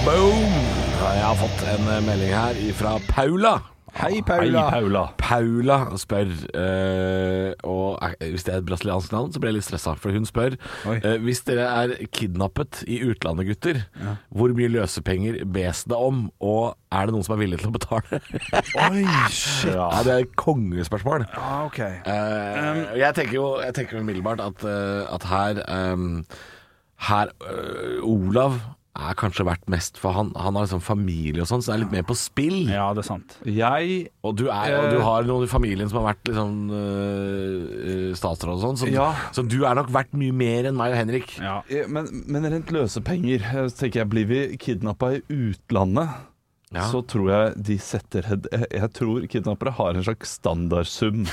Speaker 3: Boom! Ja, jeg har fått en eh, melding her fra Paula. Hei,
Speaker 5: Paula. Hei, Paula.
Speaker 3: Paula spør eh, Og eh, hvis det er et brasiliansk navn, så blir jeg litt stressa. For hun spør
Speaker 4: Oi.
Speaker 3: eh, Hvis dere er kidnappet i utlandet, gutter, hvor mye løsepenger bes det om? Og er det noen som er villig til å betale?
Speaker 4: Oi, shit.
Speaker 3: Ja. det er et kongespørsmål.
Speaker 4: Ah, ok.
Speaker 5: Um,
Speaker 3: Eh, jeg tenker jo jeg tenker umiddelbart at, eh, at her eh, Her eh, Olav er kanskje verdt mest, for han, han har liksom familie og sånn, så det er litt mer på spill.
Speaker 4: Ja, det er sant.
Speaker 5: Jeg
Speaker 3: Og du, er, og du
Speaker 5: Eh.
Speaker 3: har noen i familien som har vært liksom, øh, øh, statsråd og sånn, så,
Speaker 5: Ja.
Speaker 3: så du er nok verdt mye mer enn meg og Henrik.
Speaker 4: Ja.
Speaker 5: eh, men, men rent løsepenger eh, så tenker jeg, Blir vi kidnappa i utlandet,
Speaker 3: Ja.
Speaker 5: så tror jeg de setter hed- Jeg jeg tror kidnappere har en slags standardsum.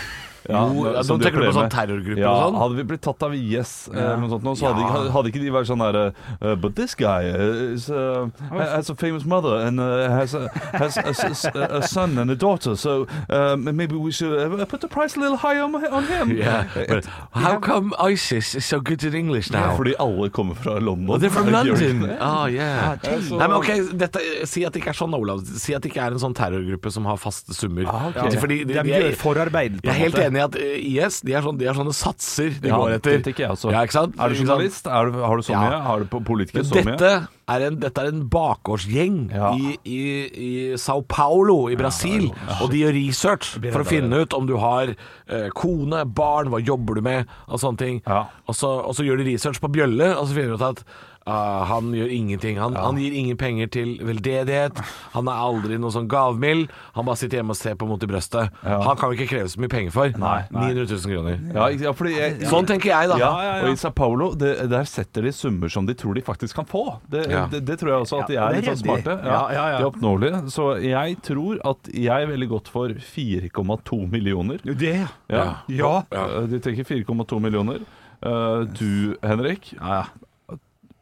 Speaker 5: Ja,
Speaker 3: Jo, ja,
Speaker 5: som
Speaker 3: nå
Speaker 5: de
Speaker 3: tenker du på
Speaker 5: opererer
Speaker 3: sånn
Speaker 5: med.
Speaker 3: terrorgruppe
Speaker 5: ja,
Speaker 3: og sånn?
Speaker 5: Hadde vi blitt tatt av IS eh, eller noe sånt nå, så hadde,
Speaker 3: Ja.
Speaker 5: ikke- hadde ikke de vært sånn derre But this guy uh, is, uh, has a famous mother and uh, has, a, has a, s- s- a son and a daughter, so um, maybe we should uh, put the price a little high on, on him.
Speaker 3: Yeah, but how come ISIS is so good in English now?
Speaker 5: Fordi alle kommer fra London.
Speaker 3: Oh, they're from
Speaker 5: Gjør de
Speaker 3: London.
Speaker 5: ikke det?
Speaker 3: Oh, yeah.
Speaker 5: Jesus.
Speaker 3: Nei, men ok, dette, Si at det ikke er sånn, Olav. Si at det ikke er en sånn terrorgruppe som har faste summer.
Speaker 5: Ah, ok.
Speaker 3: At de- fordi de,
Speaker 4: De
Speaker 3: de
Speaker 4: gjør
Speaker 3: er,
Speaker 4: forarbeid.
Speaker 3: jeg er helt enig i at eh, IS de er sånn, de har sånne satser de
Speaker 5: Ja,
Speaker 3: går etter.
Speaker 5: det tenker jeg også.
Speaker 3: Ja, ikke sant?
Speaker 5: Er du
Speaker 3: Ikke sant?
Speaker 5: journalist? Er du, har du så
Speaker 3: Ja.
Speaker 5: mye? Har du på politiker
Speaker 3: Men
Speaker 5: så mye?
Speaker 3: dette er en, dette er en bakgårdsgjeng
Speaker 5: Ja.
Speaker 3: i, i, i Sao Paulo i Brasil, og de gjør research for å finne ut om du har eh, kone, barn, hva jobber du med, og sånne ting.
Speaker 5: Ja.
Speaker 3: Og, så, og så gjør de research på Bjølle, og så finner de ut at ah, han gjør ingenting. Han, han gir ingen penger til veldedighet, han er aldri noe sånn gavmild, han bare sitter hjemme og ser på mot i brøstet.
Speaker 5: Ja.
Speaker 3: Han kan vi ikke kreve så mye penger for.
Speaker 5: Nei, nei.
Speaker 3: 900 000 kroner.
Speaker 5: Ja, ikke- ja, fordi jeg,
Speaker 3: Sånn tenker jeg, da.
Speaker 5: ja, Og i Sao Paulo, det, der setter de summer som de tror de faktisk kan få. Det,
Speaker 3: Ja.
Speaker 5: det, det tror jeg også at de
Speaker 4: Ja,
Speaker 5: er
Speaker 4: det er
Speaker 5: litt sånn
Speaker 4: ryddig.
Speaker 5: smarte.
Speaker 4: Ja, ja, ja.
Speaker 5: De er oppnåelige. Så jeg tror at jeg er veldig godt for 4,2 millioner.
Speaker 4: Jo, det, ja.
Speaker 5: Ja.
Speaker 4: Ja.
Speaker 5: Eh, De tenker 4,2 millioner. Eh, du, Henrik,
Speaker 4: Ja, ja.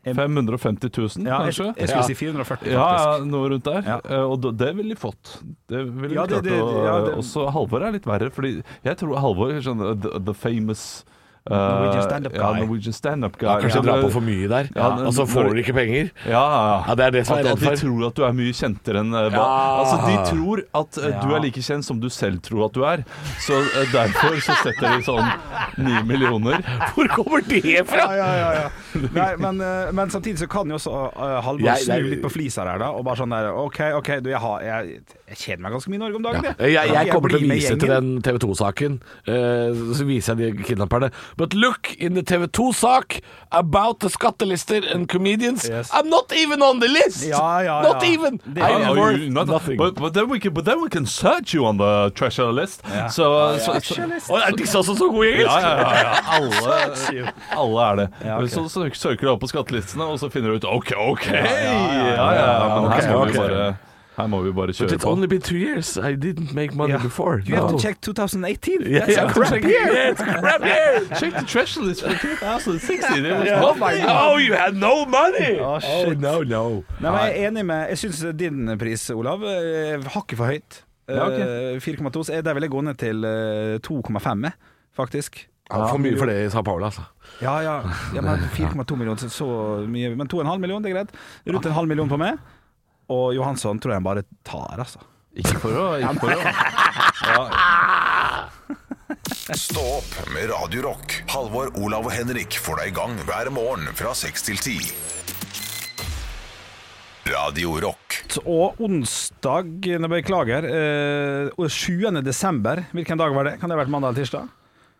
Speaker 5: 550 000,
Speaker 4: Ja, jeg,
Speaker 5: kanskje?
Speaker 4: jeg skulle si 440,
Speaker 5: Ja,
Speaker 4: faktisk.
Speaker 5: ja, noe rundt der.
Speaker 4: Ja.
Speaker 5: Eh, og d- det ville de fått. Det ville de
Speaker 4: Ja,
Speaker 5: klart
Speaker 4: det- det-
Speaker 5: å
Speaker 4: ja, det-
Speaker 5: Også Halvor er litt verre, fordi jeg tror Halvor er sånn uh, the, the famous uh,
Speaker 4: Norwegian stand-up
Speaker 5: ja,
Speaker 4: guy.
Speaker 5: Norwegian stand-up guy.
Speaker 3: Ja, kanskje
Speaker 5: ja.
Speaker 3: dra på for mye der,
Speaker 5: Ja,
Speaker 3: og så får
Speaker 5: når-
Speaker 3: du ikke penger.
Speaker 5: Ja, ja,
Speaker 3: Ja, det er det som
Speaker 5: at,
Speaker 3: jeg er
Speaker 5: at de
Speaker 3: redd for.
Speaker 5: tror at du er mye kjentere enn eh, hva
Speaker 3: Ja.
Speaker 5: Altså, de tror at eh, du
Speaker 4: Ja.
Speaker 5: er like kjent som du selv tror at du er. Så eh, derfor så setter de sånn ni millioner.
Speaker 3: Hvor kommer det fra?
Speaker 4: Ja, ja, ja, ja. Nei, men, eh, men samtidig så kan jo også eh, Halvor
Speaker 3: Jeg- jeg-
Speaker 4: snu litt på flisa der, da. Og bare sånn der OK, OK, du, jeg, har, jeg, jeg kjeder meg ganske mye i Norge om dagen,
Speaker 3: Ja. Jeg, jeg kommer til å
Speaker 4: blir med
Speaker 3: vise til
Speaker 4: gjengen.
Speaker 3: den TV 2-saken. Eh, så viser jeg de kidnapperne. But look in the TV 2-sak about the skattelister and comedians.
Speaker 4: Yes.
Speaker 3: I'm not even on the list!
Speaker 4: Ja, ja,
Speaker 3: Not
Speaker 4: ja.
Speaker 3: even!
Speaker 4: Det-
Speaker 3: I'm
Speaker 5: Oh,
Speaker 3: worth
Speaker 5: you- not-
Speaker 3: nothing.
Speaker 5: But, but, then we can, but then we can search you on the treasure list. So, uh, so, so,
Speaker 3: Å, er disse også så gode i engelsk?
Speaker 5: Ja, ja, ja, ja. Alle, alle er det.
Speaker 4: Ja, ok.
Speaker 5: Men så, så søker du opp på skattelistene, og så finner du ut OK, OK! Ja, ja, ja. Men her må,
Speaker 3: ok,
Speaker 5: Vi
Speaker 3: ok.
Speaker 5: bare, her må vi bare
Speaker 3: But
Speaker 5: kjøre
Speaker 3: it's
Speaker 5: på.
Speaker 3: only been two years. I didn't make money
Speaker 4: Ja.
Speaker 3: before.
Speaker 4: You have
Speaker 3: No.
Speaker 4: to check 2018.
Speaker 3: Yeah,
Speaker 4: That's
Speaker 3: yeah,
Speaker 4: a crap year.
Speaker 3: yeah, it's a crap year.
Speaker 5: Check the treasure list for 2060. Det var
Speaker 3: Oh, you had no money!
Speaker 4: Oh, shit.
Speaker 3: no, no.
Speaker 4: Nei, men jeg er enig med Jeg syns din pris, Olav, eh, hakket for høyt.
Speaker 5: Ja, ok.
Speaker 4: Eh, 4,2. Så er det vel jeg går ned til eh, 2,5, faktisk.
Speaker 3: Ja, for mye for det i Sao Paulo, altså.
Speaker 4: Ja, ja. ja men 4,2 millioner, så- så mye. Men 2,5 millioner, det er greit. Rundt en halv million på meg. Og Johansson tror jeg han bare tar, altså.
Speaker 5: Ikke for å, ikke for å.
Speaker 1: Stå opp med Radio Rock. Halvor, Olav og Henrik får deg i gang hver morgen fra 6 til 10. Radio Rock.
Speaker 4: Og onsdag, nei, beklager, eh, og 7. desember, hvilken dag var det? Kan det ha vært mandag eller tirsdag?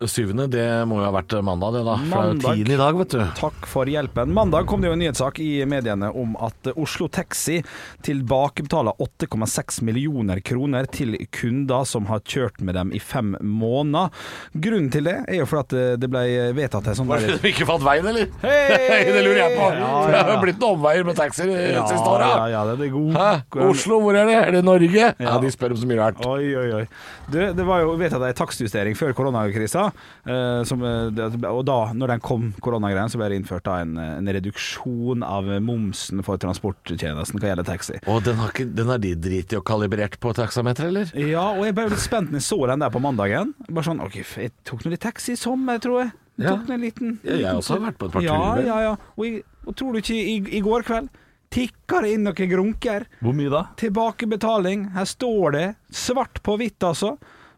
Speaker 3: Syvende, det må jo ha vært eh, mandag, det da. For det er
Speaker 4: Mandag.
Speaker 3: jo tiende i dag, vet du.
Speaker 4: Takk for hjelpen. Mandag kom det jo en nyhetssak i mediene om at Oslo Taxi tilbakebetaler 8,6 millioner kroner til kunder som har kjørt med dem i fem måneder. Grunnen til det er jo for at eh, det ble vedtatt en sånn
Speaker 3: Var det
Speaker 4: der-
Speaker 3: de ikke fant veien, eller? det lurer jeg på.
Speaker 4: Ja,
Speaker 3: Det har
Speaker 4: ja.
Speaker 3: jo blitt noen omveier med taxier de siste åra.
Speaker 4: Ja, ja, ja, det er god.
Speaker 3: Hæ?
Speaker 4: Hvordan-
Speaker 3: Oslo, hvor er det? Er det Norge? Ja, de spør om så mye rart.
Speaker 4: Oi, oi, oi. Du, det var jo vedtatt ei takstjustering før koronakrisa. eh, som, eh, det- og da, når den kom, koronagreien, så ble det innført da, en, en reduksjon av momsen for transporttjenesten hva gjelder taxi.
Speaker 3: Og den har, ikke, den har de driti og kalibrert på taksameteret, eller?
Speaker 4: Ja, og jeg ble jo litt spent når jeg så den der på mandagen. Bare sånn OK, f- jeg tok nå litt taxi i sommer, tror jeg. Jeg
Speaker 3: Ja.
Speaker 4: Tok nå en liten
Speaker 3: Ja, jeg også har vært på et par
Speaker 4: Ja,
Speaker 3: turer.
Speaker 4: ja, ja. Og, i, og tror du ikke i, i går kveld tikka det inn noen grunker?
Speaker 5: Hvor mye da?
Speaker 4: Tilbakebetaling. Her står det svart på hvitt, altså.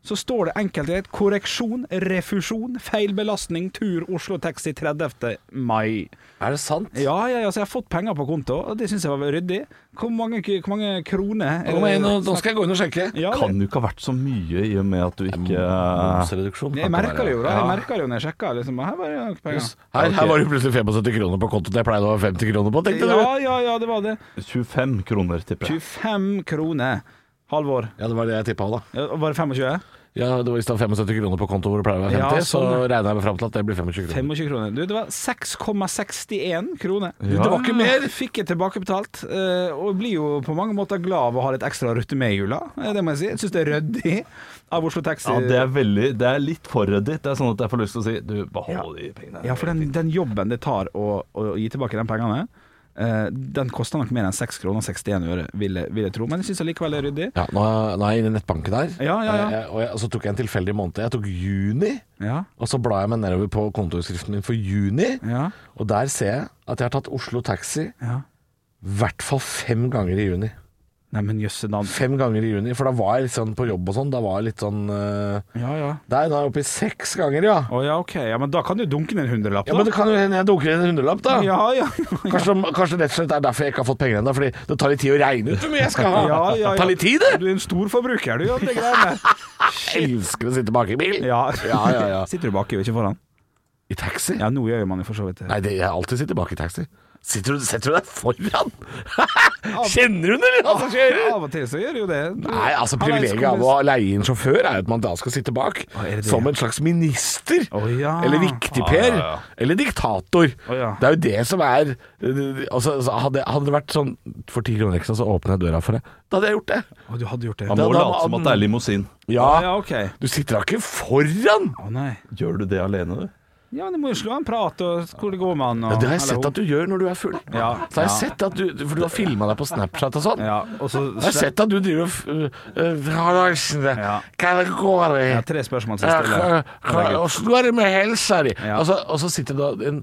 Speaker 4: så står det enkelt og greit korreksjon, refusjon, feil belastning, tur Oslo Taxi 30. mai.
Speaker 3: Er det sant?
Speaker 4: Ja, ja, ja, så jeg har fått penger på konto, og det syns jeg var ryddig. Hvor mange, hvor mange kroner?
Speaker 3: Kom igjen, nå, nå skal jeg gå inn og sjekke.
Speaker 4: Ja, det-
Speaker 5: Kan jo ikke ha vært så mye i og med at du ikke
Speaker 3: Momsreduksjon.
Speaker 4: Jeg merka det jo, da. Jeg merket det jo når jeg sjekka. Liksom, her var det nok penger.
Speaker 3: Her, her var det plutselig 75 kroner på kontoen jeg pleide å ha 50 kroner på, tenkte
Speaker 4: Ja,
Speaker 3: du.
Speaker 4: ja, ja, det var det.
Speaker 5: 25 eh, kroner, tipper jeg.
Speaker 4: 25 kroner. Halvor,
Speaker 3: Ja, det var det jeg tippa da.
Speaker 4: ja, var det 25?
Speaker 3: Ja, det var i stedet 75 kroner på konto hvor det pleier å være 50,
Speaker 4: Ja, sånn,
Speaker 3: så
Speaker 4: ja.
Speaker 3: regna jeg meg fram til at det blir 25 kroner.
Speaker 4: 25 kroner. Du, det var 6,61 kroner.
Speaker 5: Ja.
Speaker 4: Det var ikke mer. Fikk jeg tilbakebetalt. eh, Og blir jo på mange måter glad av å ha litt ekstra å rutte med i jula. eh, Det må jeg si. Jeg syns det er ryddig av Oslo Taxi.
Speaker 5: Ja, det er veldig Det er litt for reddit. Det er sånn at jeg får lyst til å si Du, behold de pengene.
Speaker 4: Ja, for den, den jobben det tar å, å gi tilbake de pengene, eh, den koster nok mer enn 6 kroner og 61 øre, vil jeg, vil jeg tro. Men jeg syns allikevel det er ryddig.
Speaker 3: Ja, nå, er- nå er jeg inne i nettbanken der,
Speaker 4: Ja, ja, ja.
Speaker 3: Eh, og, jeg, og så tok jeg en tilfeldig måned. Jeg tok juni,
Speaker 4: Ja,
Speaker 3: og så bla jeg meg nedover på kontoutskriften min for juni,
Speaker 4: ja,
Speaker 3: og der ser jeg at jeg har tatt Oslo Taxi
Speaker 4: ja.
Speaker 3: i hvert fall fem ganger i juni.
Speaker 4: Nei, men jøsse navn.
Speaker 3: Fem ganger i juni, for da var jeg litt sånn på jobb og sånn. Da var jeg litt sånn eh,
Speaker 4: Ja, ja.
Speaker 3: Der, nå er jeg oppe i seks ganger, ja.
Speaker 4: Å ja, ok. Ja, men da kan du dunke ned en hundrelapp, da.
Speaker 3: Ja, Men det kan jo hende jeg dunker inn en hundrelapp, da.
Speaker 4: ja, ja.
Speaker 3: Kanskje, kanskje det rett og slett er derfor jeg ikke har fått penger ennå, fordi det tar litt tid å regne ut hvor mye jeg skal ha.
Speaker 4: Ja, ja, ja.
Speaker 3: Det tar litt tid, det!
Speaker 4: Du er en stor forbruker, du, av de greiene.
Speaker 3: Jeg elsker å sitte bak i bil.
Speaker 4: Ja.
Speaker 3: ja, ja. ja.
Speaker 4: Sitter du baki og ikke foran?
Speaker 3: I taxi?
Speaker 4: Ja, nå gjør jo man jo for så vidt det.
Speaker 3: Nei, det, jeg alltid sitter bak i taxi. Sitter du, setter du deg foran? Kjenner hun eller hva som skjer?
Speaker 4: Av og til så gjør du jo det. Du-
Speaker 3: Nei, altså
Speaker 4: Han er
Speaker 3: Privilegiet av å
Speaker 4: skolenes-
Speaker 3: leie inn sjåfør er jo at man da skal sitte bak.
Speaker 4: er det det?
Speaker 3: Som en slags minister.
Speaker 4: Å, ja.
Speaker 3: Eller viktigper.
Speaker 5: Ja, ja, ja.
Speaker 3: Eller diktator.
Speaker 4: Å, ja.
Speaker 3: Det er jo det som er eh, altså, altså, hadde, hadde det vært sånn for ti kroner ekstra, så åpner jeg døra for deg. Da hadde jeg gjort det.
Speaker 4: Å, du hadde gjort det.
Speaker 5: Han må
Speaker 3: Da- da-
Speaker 5: late som at det er limousin.
Speaker 3: Ja,
Speaker 4: Å, ja, ok.
Speaker 3: Du sitter da ikke foran!
Speaker 4: Å nei.
Speaker 5: Gjør du det alene, du?
Speaker 4: Ja, men du må jo slå en prat, og hvor det går med han. Og,
Speaker 3: Ja, det har jeg
Speaker 4: eller
Speaker 3: sett
Speaker 4: hun.
Speaker 3: at du gjør når du er full.
Speaker 4: Ja,
Speaker 3: Så har jeg
Speaker 4: ja.
Speaker 3: sett at du, For du har filma deg på Snapchat og sånn.
Speaker 4: Ja, og så
Speaker 3: Jeg har sett at du driver og f- øh, Halloisen,
Speaker 4: Ja.
Speaker 3: hva er det går i?
Speaker 4: Ja, tre spørsmål til
Speaker 3: Ja,
Speaker 4: stille.
Speaker 3: hva- hva-
Speaker 4: Herregud.
Speaker 3: Åssen går det med helsa di?
Speaker 4: Ja.
Speaker 3: Og, så, og så sitter da en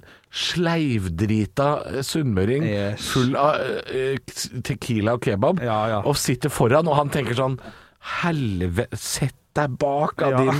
Speaker 3: sleivdrita eh, sunnmøring
Speaker 4: Yes.
Speaker 3: full av eh, eh, tequila og kebab,
Speaker 4: Ja, ja.
Speaker 3: og sitter foran, og han tenker sånn Helvete, sett deg bak av
Speaker 4: Ja.
Speaker 3: din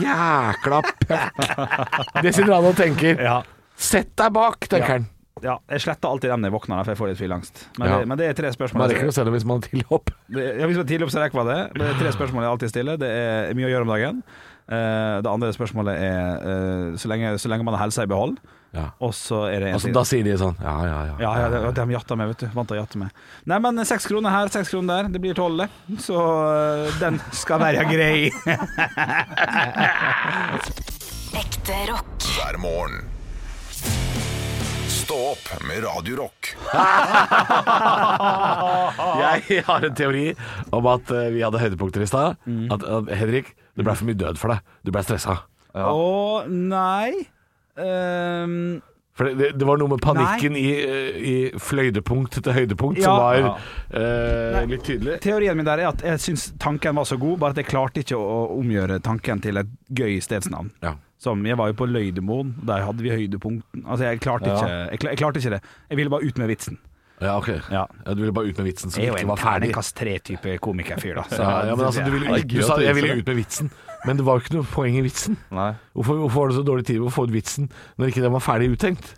Speaker 3: jækla pøkk. Det sitter han og tenker.
Speaker 4: Ja.
Speaker 3: Sett deg bak, tenker han.
Speaker 4: ja, jeg sletter alltid dem når jeg våkner, da, for jeg får litt fylangst. Men,
Speaker 3: Ja.
Speaker 4: det, men det er tre spørsmål.
Speaker 3: Man rekker å se det hvis man har tilhopp.
Speaker 4: Det, ja, hvis man er tidlig opp, så rekker man det. Men det er tre spørsmål jeg alltid stiller. Det er mye å gjøre om dagen. Eh, det andre spørsmålet er eh, så, lenge, så lenge man har helsa i behold.
Speaker 3: Ja.
Speaker 4: Og så er det en
Speaker 3: Altså,
Speaker 4: til.
Speaker 3: da sier de sånn Ja, ja, ja.
Speaker 4: Ja, ja, de, de jatter meg, vet du. Vant til å jatte meg. Nei, men seks kroner her, seks kroner der. Det blir tolv, det. Så eh, den skal være grei.
Speaker 2: Ekte rock.
Speaker 1: hver morgen. Stå opp med Radio Rock.
Speaker 3: Jeg har en teori om at eh, vi hadde høydepunkter i stad.
Speaker 4: Mm.
Speaker 3: At, at Henrik, det ble for mye død for deg. Du ble stressa.
Speaker 4: Å nei. Ehm,
Speaker 3: For det, det, det var noe med panikken i, eh, i fløydepunkt til høydepunkt som
Speaker 4: Ja.
Speaker 3: var
Speaker 5: Ja.
Speaker 3: eh, litt tydelig.
Speaker 4: teorien min der er at jeg syns tanken var så god, bare at jeg klarte ikke å, å omgjøre tanken til et gøy stedsnavn.
Speaker 3: Ja.
Speaker 4: Som, jeg var jo på Løydemoen, der hadde vi høydepunkten. Altså, jeg klarte,
Speaker 5: Ja.
Speaker 4: ikke, jeg, kla- jeg klarte ikke det. Jeg ville bare ut med vitsen.
Speaker 3: ja, ok.
Speaker 4: Ja.
Speaker 3: Ja, du ville bare ut med vitsen som
Speaker 4: Jeg er jo
Speaker 3: ikke
Speaker 4: en
Speaker 3: var ferdig.
Speaker 4: terningkast tre-type komikerfyr, da. Så,
Speaker 3: Ja, ja, men altså, du, ville,
Speaker 5: Det er
Speaker 3: ut-
Speaker 5: gøy
Speaker 3: du sa
Speaker 5: at du
Speaker 3: jeg
Speaker 5: gjorde
Speaker 3: ville ut med vitsen, men det var jo ikke noe poeng i vitsen.
Speaker 5: Nei.
Speaker 3: Hvorfor, hvorfor var det så dårlig tid å få ut vitsen når ikke den var ferdig uttenkt?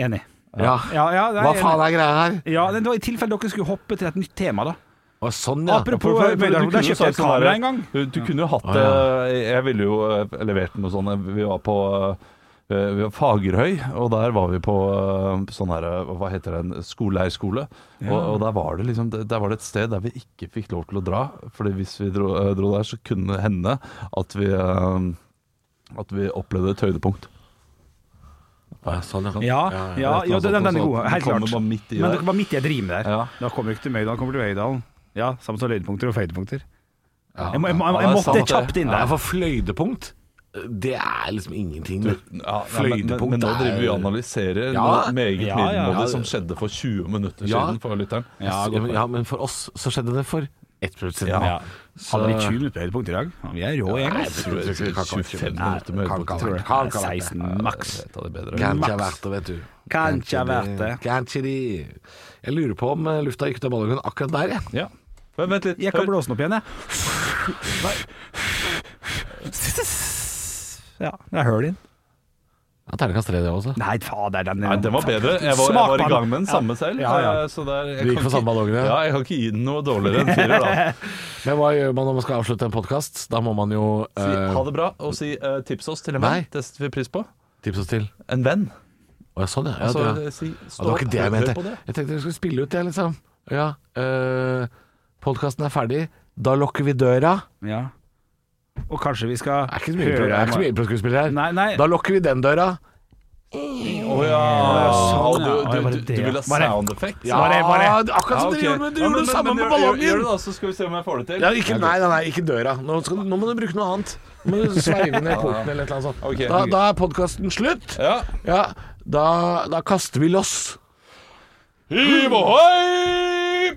Speaker 4: Enig.
Speaker 3: Ja.
Speaker 4: Ja, ja, nei,
Speaker 3: Hva
Speaker 4: enig.
Speaker 3: faen er greia her?
Speaker 4: Ja, det var i tilfelle dere skulle hoppe til et nytt tema, da.
Speaker 3: Å, sånn, ja.
Speaker 4: Apropos Møydalen, der kjøpte jeg et kamera en gang.
Speaker 5: Du, du kunne jo hatt
Speaker 3: Å,
Speaker 5: det
Speaker 3: sånn ja.
Speaker 5: Jeg ville jo eh, levert noe sånt. Vi var på eh, vi var Fagerhøy, og der var vi på eh, sånn her eh, Hva heter det? en Skoleeierskole. Og, og der, var det liksom, der var det et sted der vi ikke fikk lov til å dra. Fordi hvis vi dro, eh, dro der, så kunne det hende at vi eh, At vi opplevde et høydepunkt.
Speaker 3: Ja, sånn, ja.
Speaker 4: Ja, ja, ja,
Speaker 5: det er noe
Speaker 4: den, den
Speaker 5: sånt
Speaker 4: er
Speaker 5: også,
Speaker 4: god,
Speaker 5: at
Speaker 4: helt
Speaker 5: altså, du kommer
Speaker 4: klart.
Speaker 5: bare midt i
Speaker 4: Men
Speaker 5: der.
Speaker 4: dere var midt i et rim der.
Speaker 5: Ja.
Speaker 4: Da kommer dere ikke til Møydalen, kommer til Møydalen. Ja, samme som høydepunkter og føydepunkter.
Speaker 3: Ja.
Speaker 4: Jeg, må, jeg, må,
Speaker 5: Ja,
Speaker 4: jeg,
Speaker 5: det er
Speaker 4: måtte
Speaker 5: sant, det.
Speaker 4: kjapt inn
Speaker 3: Ja,
Speaker 4: der.
Speaker 3: for fløydepunkt, det er liksom ingenting.
Speaker 5: Ja, nei, men-
Speaker 3: fløydepunkt
Speaker 5: Men, men nå
Speaker 3: er-
Speaker 5: driver vi og analyserer
Speaker 3: Ja.
Speaker 5: noe meget
Speaker 4: Ja, ja,
Speaker 5: middelmådig
Speaker 4: ja.
Speaker 5: som skjedde for 20 minutter
Speaker 3: Ja.
Speaker 5: siden for lytteren.
Speaker 3: Ja,
Speaker 4: godt poeng.
Speaker 3: men- ja, men for oss så skjedde det for ett minutt siden.
Speaker 5: Ja.
Speaker 4: Hadde vi 20 minutter på høydepunkt i dag? Ja, Vi er rå gjeng. ass.
Speaker 5: tror jeg tror ikke 25 minutter med
Speaker 3: Kan ikke
Speaker 5: høydepunkt.
Speaker 3: ha vært- kan ikke ha vært det.
Speaker 4: 16 maks.
Speaker 5: Jeg tar det bedre.
Speaker 3: Kan ikke ha vært det, vet du.
Speaker 4: Kan ikke ha vært det.
Speaker 3: Kan ikke de Jeg lurer på om eh, lufta gikk ut av ballongen akkurat der, jeg.
Speaker 5: Ja. Men vent litt.
Speaker 4: Jeg kan
Speaker 5: Hør.
Speaker 4: blåse den opp igjen, jeg.
Speaker 6: Ja, det er høl inn.
Speaker 3: Ja, Terningkast tre, det også.
Speaker 6: Nei, fader, den
Speaker 5: Nei, den var bedre. Jeg var, jeg var i gang med den samme selv.
Speaker 6: Ja, ja.
Speaker 5: eh, Så der, jeg
Speaker 3: Du gikk
Speaker 5: kan
Speaker 3: for samme
Speaker 5: ikke-
Speaker 3: ballongen, ja.
Speaker 5: Ja, jeg kan ikke gi den noe dårligere enn firer,
Speaker 3: Eh,
Speaker 5: da.
Speaker 3: Men hva gjør man når man skal avslutte en podkast? Da må man jo
Speaker 5: Si
Speaker 3: eh,
Speaker 5: ha det bra, og si eh, tips oss til en
Speaker 3: Nei.
Speaker 5: venn. Det setter vi pris på.
Speaker 3: tipse oss til.
Speaker 5: En venn.
Speaker 3: Å ja, sånn ja. ja,
Speaker 5: Altså,
Speaker 3: det, ja.
Speaker 5: si
Speaker 3: Ja, det var ikke det jeg
Speaker 5: hør- hør
Speaker 3: mente.
Speaker 5: på det.
Speaker 3: Jeg tenkte dere skulle spille ut det, liksom. Ja, øh, podkasten er ferdig. Da lukker vi døra.
Speaker 6: Ja. Og kanskje vi skal
Speaker 3: Det er ikke så mye impro- det er ikke så mye impro-skuespillere her.
Speaker 6: Nei, nei.
Speaker 3: Da lukker vi den døra.
Speaker 5: Å ja.
Speaker 6: sånn, ja.
Speaker 5: du,
Speaker 6: Ja, var
Speaker 5: du,
Speaker 6: det
Speaker 5: du,
Speaker 6: det?
Speaker 5: du vil ha
Speaker 6: Var det-
Speaker 5: sound effects?
Speaker 3: Ja,
Speaker 6: Bare- bare-
Speaker 3: Ah, akkurat som dere gjorde, men dere gjorde det samme på
Speaker 5: Gjør
Speaker 3: ballongen.
Speaker 5: det da, så skal vi se om jeg får det til.
Speaker 3: Ja, ikke, nei, nei, nei, ikke døra. Nå, skal, nå må du bruke noe annet. Nå må du sveive ned porten eller et eller annet sånt.
Speaker 5: Ok.
Speaker 3: Da, da er podkasten slutt.
Speaker 5: Ja.
Speaker 3: Ja, da, da kaster vi loss.
Speaker 5: Hiv ohoi!